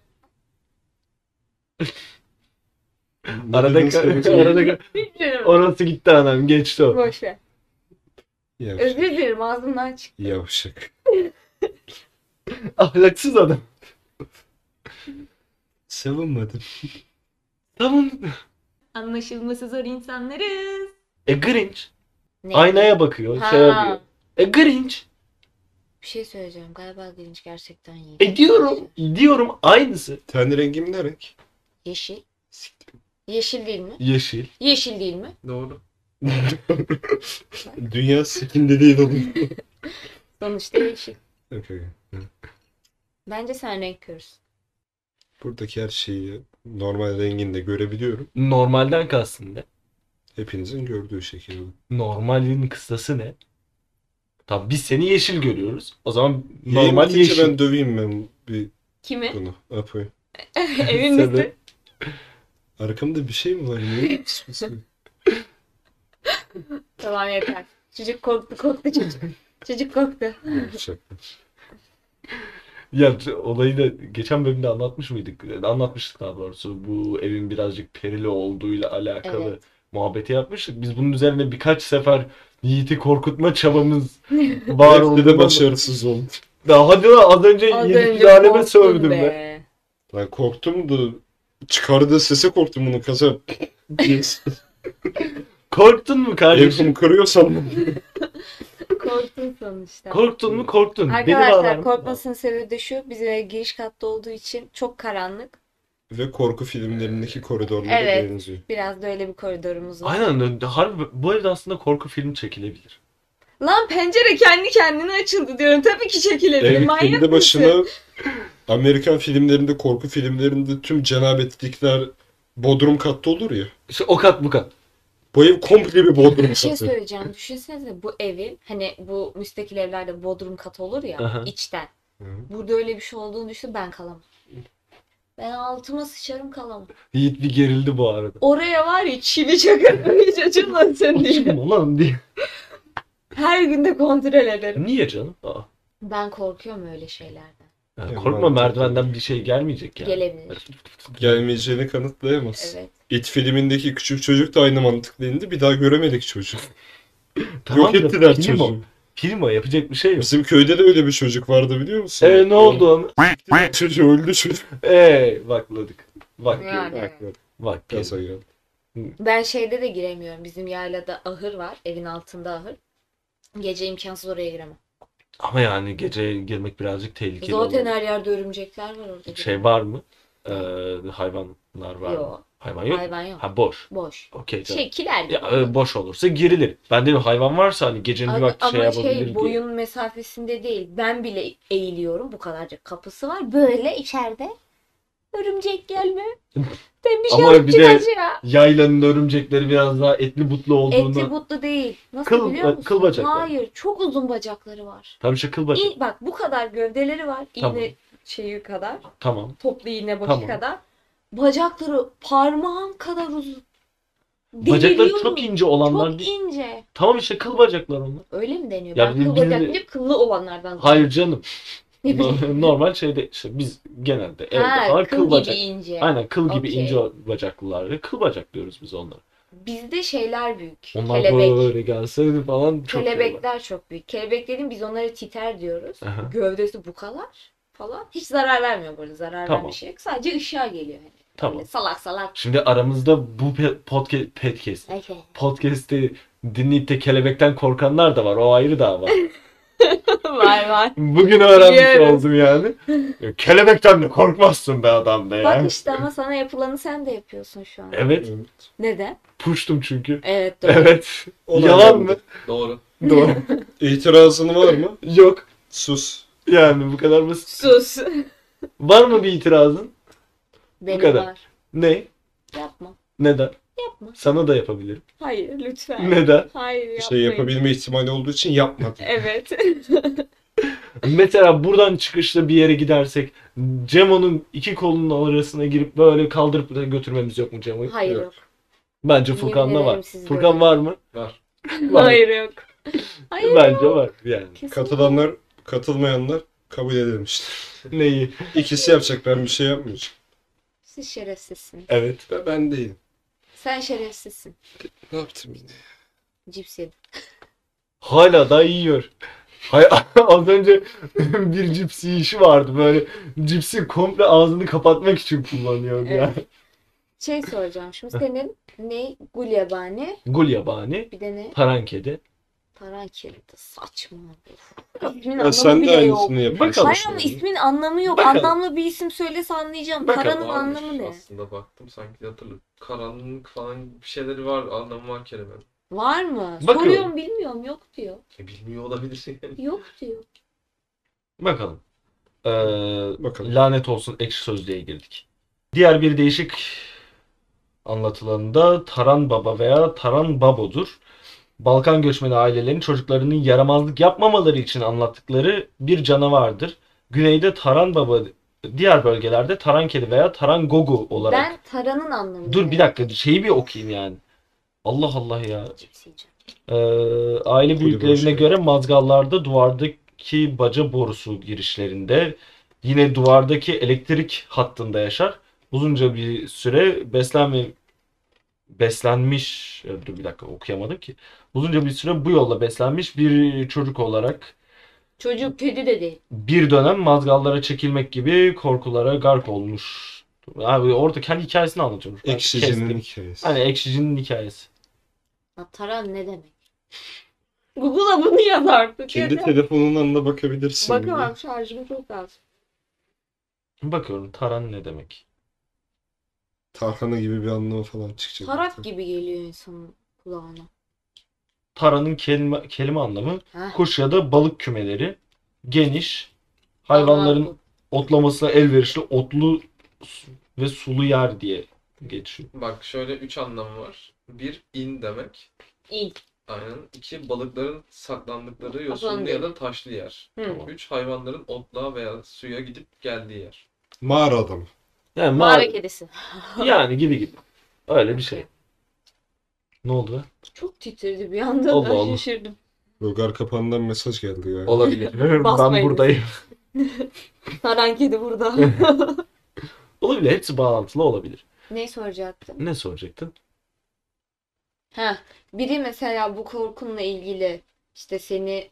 C: Ne
B: Arada
C: dediniz
B: [LAUGHS] ka-
C: kardeşim?
B: arada ka-
A: Bilmiyorum.
B: orası gitti anam geçti o.
A: Boş ver.
C: Yavşak.
A: Özür dilerim ağzımdan çıktı.
C: Yavşak.
B: Ahlaksız adam.
C: Savunmadım.
B: Tamam.
A: Anlaşılması zor insanlarız.
B: E Grinch
A: Ne?
B: aynaya bakıyor,
A: Ha.
B: şey yapıyor. E Grinch
A: Bir şey söyleyeceğim. Galiba Grinch gerçekten iyi.
B: e diyorum diyorum aynısı.
C: Ten rengim ne renk?
A: Yeşil. Yeşil değil mi?
B: Yeşil.
A: Yeşil değil mi?
B: Doğru.
C: Dünya sikinde
B: [LAUGHS]
C: değil oğlum.
A: Sonuçta yeşil.
C: Okay.
A: Bence sen renk körüsün.
C: Buradaki her şeyi normal renginde görebiliyorum.
B: Normalden kalsın ne?
C: Hepinizin gördüğü şekilde.
B: Normalin kıstası ne? Tamam biz seni yeşil görüyoruz. O zaman
C: Normal
B: normal yeşil.
C: ben döveyim ben bir
A: Kimi?
C: bunu. Ne yapayım?
A: [LAUGHS] Evin
B: Sebep?
A: misin?
C: Arkamda bir şey mi var? Ne?
A: [LAUGHS] Tamam yeter.
B: [LAUGHS]
A: Çocuk korktu korktu çocuk. çocuk korktu.
C: Yavşak.
B: Ya t- olayı da geçen bölümde anlatmış mıydık? E, Anlatmıştık daha doğrusu. Bu evin birazcık perili olduğuyla alakalı
A: Evet.
B: muhabbeti yapmıştık. Biz bunun üzerine birkaç sefer Yiğit'i korkutma çabamız
A: [LAUGHS]
B: var
C: Hepsi de
B: olduğundan
C: başarısız oldu.
B: Daha hadi lan az önce
A: Az
B: Yiğit'i
A: önce
B: aleme
A: korktun
B: sövdüm ben.
A: be.
C: Ben korktum da çıkardığı sese korktum bunu kaza.
B: Korktun mu kardeşim?
C: Evimi kırıyor sandım.
A: Korktun sonuçta.
B: Korktun mu korktun. Beni bağlar
A: Arkadaşlar
B: mı?
A: korkmasının sebebi de şu. Bizim ev giriş katta olduğu için çok karanlık.
C: Ve korku filmlerindeki koridorlara
A: Evet.
C: benziyor.
A: Biraz da öyle bir koridorumuz var.
B: Aynen harbi bu evde aslında korku filmi çekilebilir.
A: Lan pencere kendi kendine açıldı diyorum. Tabii ki çekilebilir.
C: Evet,
A: Manyak
C: kendi
A: mısın?
C: başına Amerikan filmlerinde, korku filmlerinde tüm cenabetlikler bodrum katta olur ya.
B: İşte o kat bu kat.
C: Bu ev komple bir bodrum
A: Bir şey
C: katı.
A: söyleyeceğim. Düşünsenize bu evin hani bu müstakil evlerde bodrum katı olur ya
B: Aha.
A: içten.
C: Hı.
A: Burada öyle bir şey olduğunu düşün ben kalamam. Ben altıma sıçarım kalamam.
B: Yiğit bir gerildi
A: [LAUGHS]
B: bu arada.
A: Oraya var ya çivi çakar [LAUGHS] hiç açılmasın
B: Açın
A: diye.
B: mı lan diye.
A: Her gün de kontrol ederim.
B: Niye canım? Aa.
A: Ben korkuyorum öyle şeylerden.
B: Ya
C: Ya
B: korkma
C: mantıklı.
B: merdivenden bir şey gelmeyecek yani.
A: Gelebilir.
C: Gelmeyeceğini kanıtlayamaz.
A: Evet.
C: İt filmindeki küçük çocuk da aynı mantıkla indi. Bir daha göremedik çocuğu.
B: Tamam
C: Yok
B: da
C: ettiler
B: film o.
C: çocuğu.
B: Film o yapacak bir
C: [LAUGHS]
B: şey yok.
C: Bizim köyde de öyle bir çocuk vardı biliyor musun?
B: Eee Ee, ne oldu onu?
C: Çocuğu öldü çocuk.
B: Eee vakladık. Vak
A: Yani.
B: geldi. Vak geldi.
C: Gaza geldi.
A: Ben şeyde de giremiyorum. Bizim yaylada ahır var. Evin altında ahır. Gece imkansız oraya giremem.
B: Ama yani gece girmek birazcık tehlikeli.
A: Zaten
B: olur.
A: her yerde örümcekler var orada.
B: Şey var mı? Ee, hayvanlar var mı?
A: Yok.
B: Hayvan yok. mu?
A: Hayvan yok.
B: Ha boş.
A: Boş.
B: Okey tamam.
A: Şey kiler gibi.
B: Ya, e, boş olursa girilir. Ben dedim hayvan varsa hani gecenin bir
A: Ama,
B: vakti şey
A: ama
B: yapabilir
A: şey
B: diye.
A: boyun mesafesinde değil. Ben bile eğiliyorum. Bu kadarcık kapısı var. Böyle içeride. Örümcek
B: [LAUGHS]
A: gelme. Ben bir şey
B: Ama
A: alıp
B: bir de-
A: çıkacağım.
B: Yaylanın örümcekleri biraz daha etli butlu olduğundan.
A: Etli butlu değil. Nasıl
B: Kıl- e,
A: biliyor musun?
B: kıl bacakları.
A: Hayır. Çok uzun bacakları var.
B: Tamam işte kıl başı.
A: İyi, bak bu kadar gövdeleri var. İğne
B: Tamam.
A: şeyi kadar.
B: Tamam.
A: Toplu iğne başı
B: Tamam.
A: kadar. Bacakları parmağın kadar uzun.
B: Bacakları
A: Deliriyorum.
B: çok ince olanlar
A: Çok
B: değil.
A: ince.
B: Tamam işte kıl bacaklar onlar.
A: Öyle mi deniyor?
B: Ya
A: ben
B: bizim
A: kıl bacak
B: bildiğimiz-
A: deyince kıllı olanlardan.
B: Hayır canım.
A: [LAUGHS] Ne bileyim.
B: Normal şeyde işte biz genelde evde
A: Ha,
B: falan
A: kıl,
B: kıl,
A: gibi
B: bacak.
A: ince.
B: Aynen kıl gibi
A: Okey.
B: ince bacaklılar. Kıl bacak diyoruz biz onlara.
A: Bizde şeyler büyük.
B: Onlar
A: kelebek.
B: böyle gelse falan çok şey
A: Kelebekler çok büyük. Kelebek dediğim biz onlara titer diyoruz.
B: Aha.
A: Gövdesi bu kadar falan. Hiç zarar vermiyor böyle. Zarar
B: Tamam.
A: veren bir şey yok. Sadece ışığa geliyor. Hani.
B: Tamam.
A: Böyle salak salak.
B: Şimdi aramızda bu podcast
A: [LAUGHS]
B: podcast
A: Okey.
B: podcast'i dinleyip de kelebekten korkanlar da var. O
A: [LAUGHS]
B: ayrı dava.
A: var var.
B: Bugün öğrenmiş
A: Biliyorum.
B: oldum yani. Ya, Kelebekten de korkmazsın be adam be ya.
A: Bak işte ama sana yapılanı sen de yapıyorsun şu an.
B: Evet.
A: Neden?
B: Puştum çünkü.
A: Evet doğru.
B: Evet. [LAUGHS]
C: Olan
B: Yalan
C: yandı.
B: mı?
D: Doğru.
B: Doğru.
A: [LAUGHS]
C: İtirazın var mı?
B: Yok.
C: Sus.
B: Yani bu kadar basit.
A: Sus.
B: Var mı bir itirazın?
A: Benim
B: kadar.
A: var.
B: Ne?
A: Yapma.
B: Neden?
A: Yapma.
B: Sana da yapabilirim.
A: Hayır lütfen.
B: Neden?
A: Hayır yapmayın.
C: Bir şey yapabilme ihtimali olduğu için yapmadım.
A: Evet.
B: Mesela buradan çıkışta bir yere gidersek Cemo'nun iki kolunun arasına girip böyle kaldırıp da götürmemiz yok mu Cemo'yu?
A: Hayır
C: Yok.
A: yok.
B: Bence
A: Yemin
B: Furkan'da var.
A: ederim sizde
B: Furkan
A: yok.
B: var mı? [LAUGHS]
D: Var.
B: Var.
A: Hayır yok. Hayır.
B: Bence var yani.
A: Kesinlikle.
C: Katılanlar, katılmayanlar kabul edilmiştir.
B: Neyi?
C: İkisi yapacak ben bir şey yapmayacağım.
A: Siz şerefsizsiniz.
B: Evet.
C: Ben, ben değilim.
A: Sen şerefsizsin.
C: Ne yaptım yine?
A: Cips yedim.
B: Hala da yiyor. Hay [LAUGHS] az önce bir cips yiyişi vardı böyle cipsi komple ağzını kapatmak için kullanıyor ya.
A: Evet. Ee, Şey soracağım. Şimdi senin ne gulyabani
B: Gul yabani,
A: bir de ne
B: paran kedi.
A: parankelidi. Saçma. Of. İsmin
C: Ya
A: anlamı
C: sen de
A: bile şey yok.
C: aynısını yapıyorsun.
B: Bakalım.
A: Hayır
C: işte.
A: ama ismin anlamı yok.
B: Bakalım.
A: Anlamlı bir isim söylese anlayacağım.
B: Bakalım
A: Paranın
D: Varmış
A: anlamı ne?
D: Aslında baktım sanki hatırlıyorum. Karanlık falan bir şeyleri var. Anlamı var kelimenin.
A: Var mı?
B: Bakalım.
A: Soruyorum bilmiyorum. Yok diyor.
D: E, bilmiyor olabilir yani.
A: Yok diyor.
B: Bakalım. Ee,
C: Bakalım.
B: lanet olsun ekşi sözlüğe girdik. Diğer bir değişik anlatılanında Taran Baba veya Taran Babo'dur. Balkan göçmeni ailelerin çocuklarının yaramazlık yapmamaları için anlattıkları bir canavardır. Güneyde Taran Baba, diğer bölgelerde Taran Kedi veya Taran Gogu olarak.
A: Ben taranın anlamını.
B: Dur bir dakika şeyi bir okuyayım yani. Allah Allah ya.
A: Cips yiyeceğim.
B: Ee, aile
C: Kulübe
B: büyüklerine
C: hoş
B: göre mazgallarda duvardaki baca borusu girişlerinde Yine duvardaki elektrik hattında yaşar. Uzunca bir süre beslenme beslenmiş e, dur bir dakika okuyamadım ki. Uzunca bir süre bu yolla beslenmiş bir çocuk olarak
A: Çocuk kedi de değil.
B: bir dönem mazgallara çekilmek gibi korkulara gark olmuş. Abi orada kendi hikayesini anlatıyorum. Ben
C: Ekşicinin
B: kestim.
C: hikayesi.
B: Hani ekşicinin hikayesi.
A: Ya taran ne demek? [LAUGHS] Google'a bunu yaz artık.
C: Kendi
A: ya.
C: telefonundan da bakabilirsin.
A: Bakamam şarjım çok az.
B: Bakıyorum taran ne demek?
C: Tarhana gibi bir anlamı falan çıkacak.
A: Tarak gibi geliyor insanın kulağına.
B: Taranın kelime, kelime anlamı
A: Heh,
B: kuş ya da balık kümeleri geniş hayvanların
A: anladım.
B: otlamasına elverişli otlu su- ve sulu yer diye geçiyor.
D: [LAUGHS] Bak şöyle üç anlamı var. Bir in demek.
A: İyi.
D: Aynen. İki balıkların saklandıkları
A: Aslan
D: yosunlu
A: değil.
D: ya da taşlı yer.
A: Hı.
D: Üç hayvanların otluğa veya suya gidip geldiği yer.
C: Mağara adamı.
B: Yani
A: Mağara
B: mağara,
A: kedisi.
B: yani gibi gibi. Öyle bir şey. Ne oldu be?
A: Çok titredi bir anda
B: Allah
A: da
B: Allah.
A: şaşırdım.
C: Logar kapağından mesaj geldi ya.
A: [LAUGHS]
B: Olabilir. ben
A: Basmayın.
B: buradayım.
A: Taran kedi
B: [LAUGHS]
A: burada.
B: Olabilir. Hepsi bağlantılı olabilir.
A: ne soracaktım?
B: Ne soracaktın?
A: Ha, biri mesela bu korkunla ilgili işte seni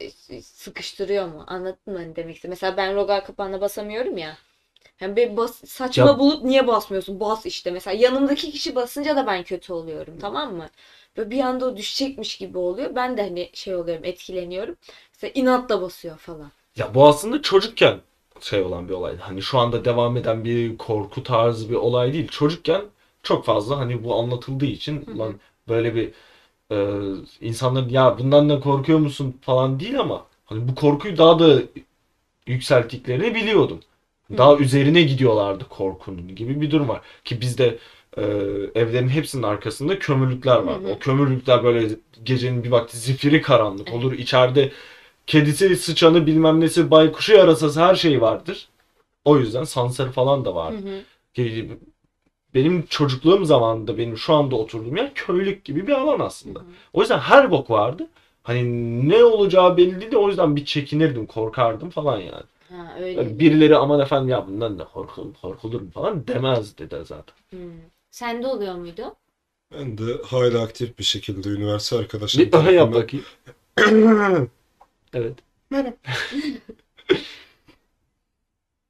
A: e, sıkıştırıyor mu? Anladın mı hani demek istedim. Mesela ben rogar kapağına basamıyorum ya. Hem bir bas, saçma
B: Ya-
A: bulup niye basmıyorsun? Bas işte. Mesela yanımdaki kişi basınca da ben kötü oluyorum, tamam mı? Böyle bir anda o düşecekmiş gibi oluyor. Ben de hani şey oluyorum, etkileniyorum. Mesela inatla basıyor falan.
B: Ya bu aslında çocukken şey olan bir olaydı. Hani şu anda devam eden bir korku tarzı bir olay değil. Çocukken çok fazla hani bu anlatıldığı için
A: hı.
B: lan böyle bir e, insanların ya bundan da korkuyor musun falan değil ama hani bu korkuyu daha da yükselttiklerini biliyordum.
A: Hı.
B: Daha üzerine gidiyorlardı korkunun gibi bir durum var. Ki bizde e, evlerin hepsinin arkasında kömürlükler var.
A: Hı hı.
B: O kömürlükler böyle gecenin bir vakti zifiri karanlık olur. İçeride kedisi, sıçanı, bilmem nesi, baykuşu, yarasası her şey vardır. O yüzden sansar falan da
A: Hı
B: vardı.
A: hı.
B: Ki Benim çocukluğum zamanında benim şu anda oturduğum yer köylük gibi bir alan aslında.
A: Hı hı.
B: O yüzden her bok vardı. Hani ne olacağı belli değildi. O yüzden bir çekinirdim, korkardım falan yani.
A: Ha, öyle.
B: Yani birileri aman efendim ya bundan ne korkulur, korkulur mu falan demez dedi zaten.
A: Hı. Sende oluyor muydu?
C: Ben de hala aktif bir şekilde üniversite arkadaşlarım
B: Bir öyle yap
C: tarafından-
B: bakayım. [COUGHS] Evet.
C: Merhaba.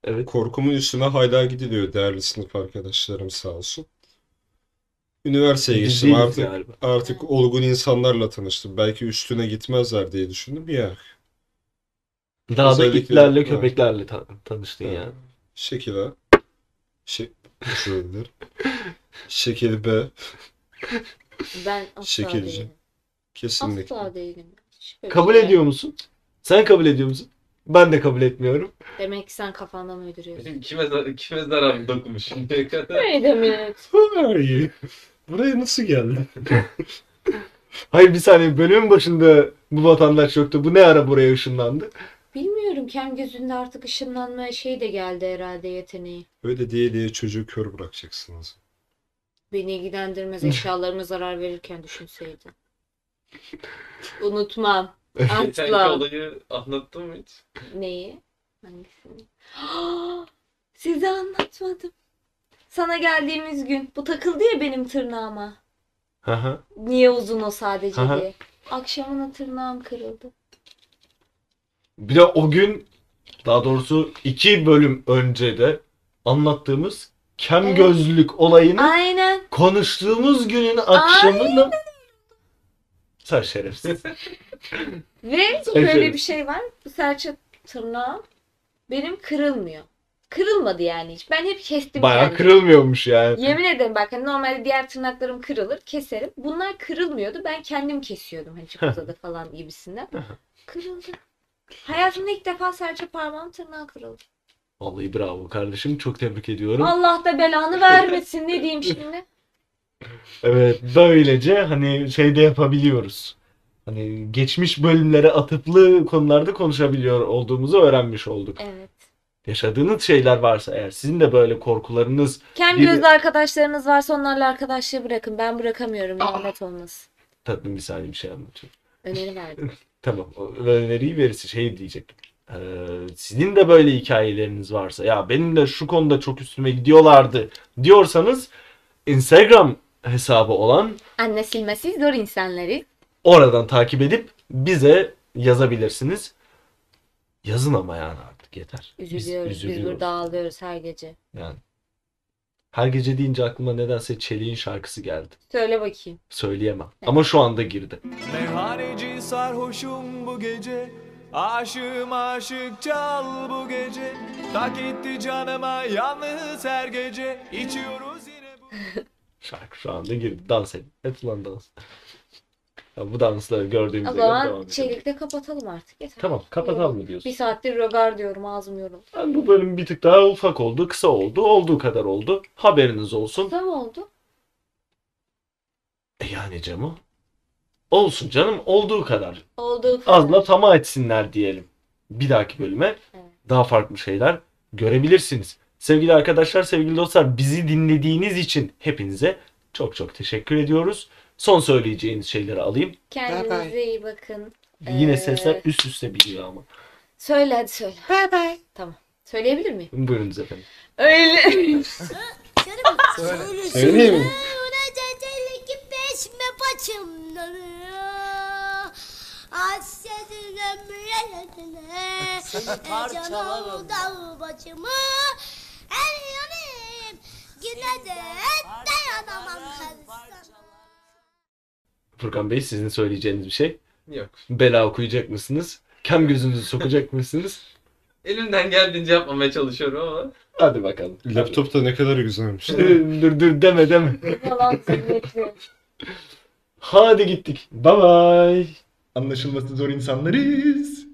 B: Evet.
C: [COUGHS] Korkumun üstüne hala gidiliyor değerli sınıf arkadaşlarım sağ olsun. Üniversiteye
B: Biz
C: geçtim
B: değiliz
C: artık.
B: galiba.
C: Artık olgun insanlarla tanıştım. Belki üstüne gitmezler diye düşündüm ya.
B: Daha da
C: Özellikle-
B: itlerle,
C: Evet.
B: köpeklerle ta- tanıştın yani.
C: Şekil A.
B: [LAUGHS]
C: Şey, nasıl edilir? Şekil B.
A: Ben asla
C: Şekilci.
A: değilim.
C: Kesinlikle.
A: Asla değilim. Hiç böyle
B: Kabul
A: şey-
B: ediyor musun? Sen kabul ediyor musun? Ben de kabul etmiyorum.
A: Demek ki sen kafandan uyduruyorsun.
D: Bizim ikimiz de, ikimiz de aram
A: [LAUGHS]
D: dokunmuş şimdiye kadar.
A: Ne demek?
C: Hayır. Buraya nasıl geldi?
B: Hayır bir saniye bölümün başında bu vatandaş yoktu. Bu ne ara buraya ışınlandı?
A: Bilmiyorum kem gözünde artık ışınlanma şey de geldi herhalde yeteneği.
C: Öyle diye diye çocuğu kör bırakacaksınız.
A: Beni ilgilendirmez eşyalarıma zarar verirken düşünseydi. Unutmam.
D: Geçenki
A: Asla.
D: olayı anlattım mı hiç?
A: Neyi? Hangisini? [GASPS] Size anlatmadım. Sana geldiğimiz gün. Bu takıldı ya benim tırnağıma.
B: Hı hı.
A: Niye uzun o sadece
B: Aha.
A: diye. Akşamına tırnağım kırıldı.
B: Bir de o gün daha doğrusu iki bölüm önce de anlattığımız kem
A: Evet.
B: gözlülük olayını
A: Aynen.
B: konuştuğumuz günün akşamını sen şerefsiz.
A: Ve
B: Serçe-
A: böyle bir şey var. Bu serçe tırnağım benim kırılmıyor. Kırılmadı yani hiç. Ben hep kestim
B: Bayağı
A: kendim.
B: kırılmıyormuş yani.
A: Yemin ederim bak hani normalde diğer tırnaklarım kırılır, keserim. Bunlar kırılmıyordu. Ben kendim kesiyordum hani çok uzadı falan gibisinden. Kırıldı. Hayatımda ilk defa serçe parmağım tırnağı kırıldı.
B: Vallahi bravo kardeşim çok tebrik ediyorum.
A: Allah da belanı vermesin ne diyeyim şimdi.
B: Evet böylece hani şeyde yapabiliyoruz. Hani geçmiş bölümlere atıflı konularda konuşabiliyor olduğumuzu öğrenmiş olduk.
A: Evet.
B: Yaşadığınız şeyler varsa eğer sizin de böyle korkularınız
A: Kem
B: Bir-
A: gözlü arkadaşlarınız varsa onlarla arkadaşlığı bırakın. Ben bırakamıyorum. Lanet olmasın.
B: tatlım bir saniye bir şey anlatacağım.
A: Öneri verdim.
B: Tamam o öneriyi verirsin şey diyecektim. Ee, sizin de böyle hikayeleriniz varsa ya benim de şu konuda çok üstüme gidiyorlardı diyorsanız Instagram hesabı olan
A: Anne silmesiz zor insanları.
B: oradan takip edip bize yazabilirsiniz. Yazın ama yani artık yeter. Biz
A: Üzülüyoruz, biz, burada ağlıyoruz her gece.
B: Yani. Her gece deyince aklıma nedense Çelik'in şarkısı geldi.
A: Söyle bakayım.
B: Söyleyemem. Ama şu anda girdi.
E: Meyhaneci sarhoşum bu gece Aşığım aşık çal bu gece Tak gitti canıma yalnız her gece İçiyoruz yine bu
B: [LAUGHS] Şarkı şu anda girdi. Dans edin. Hep ulan dans. Ya bu dansları
A: O
B: gördüğümüzde devam
A: zaman
B: edelim.
A: çelikte kapatalım artık. Yeter.
B: Tamam kapatalım mı diyorsun?
A: Bir saattir rogar diyorum ağzım yoruldu.
B: Ben bu bölüm bir tık daha ufak oldu, kısa oldu, olduğu kadar oldu. Haberiniz olsun.
A: Kısa mı oldu?
B: E yani Cemo. Olsun canım, olduğu kadar.
A: Olduğu kadar.
B: Azla tamah etsinler diyelim. Bir dahaki bölüme
A: Evet.
B: daha farklı şeyler görebilirsiniz. Sevgili arkadaşlar, sevgili dostlar, bizi dinlediğiniz için hepinize çok çok teşekkür ediyoruz. Son söyleyeceğiniz şeyleri alayım.
A: Kendinize iyi bakın.
B: Yine
A: Ee,
B: sesler üst üste biliyor ama.
A: Söyle hadi söyle. Bye bye. Tamam. Söyleyebilir miyim?
B: Buyurunuz efendim.
A: [LAUGHS] Öyle.
C: Söyleyeyim mi?
F: Ki peşme paçımları Hasretin ömrüne e, Canım dal başımı El yanayım Güne de dayanamam her sana
B: Furkan Bey sizin söyleyeceğiniz bir şey.
D: Yok.
B: Bela okuyacak mısınız? Kem gözünüzü sokacak mısınız?
D: Elimden geldiğince yapmamaya çalışıyorum ama.
B: Hadi bakalım.
C: Laptop da ne kadar güzelmiş.
B: Dur, dur dur deme deme.
A: Yalan söylüyor.
B: Hadi gittik. Bye bye.
G: Anlaşılması zor insanlarız.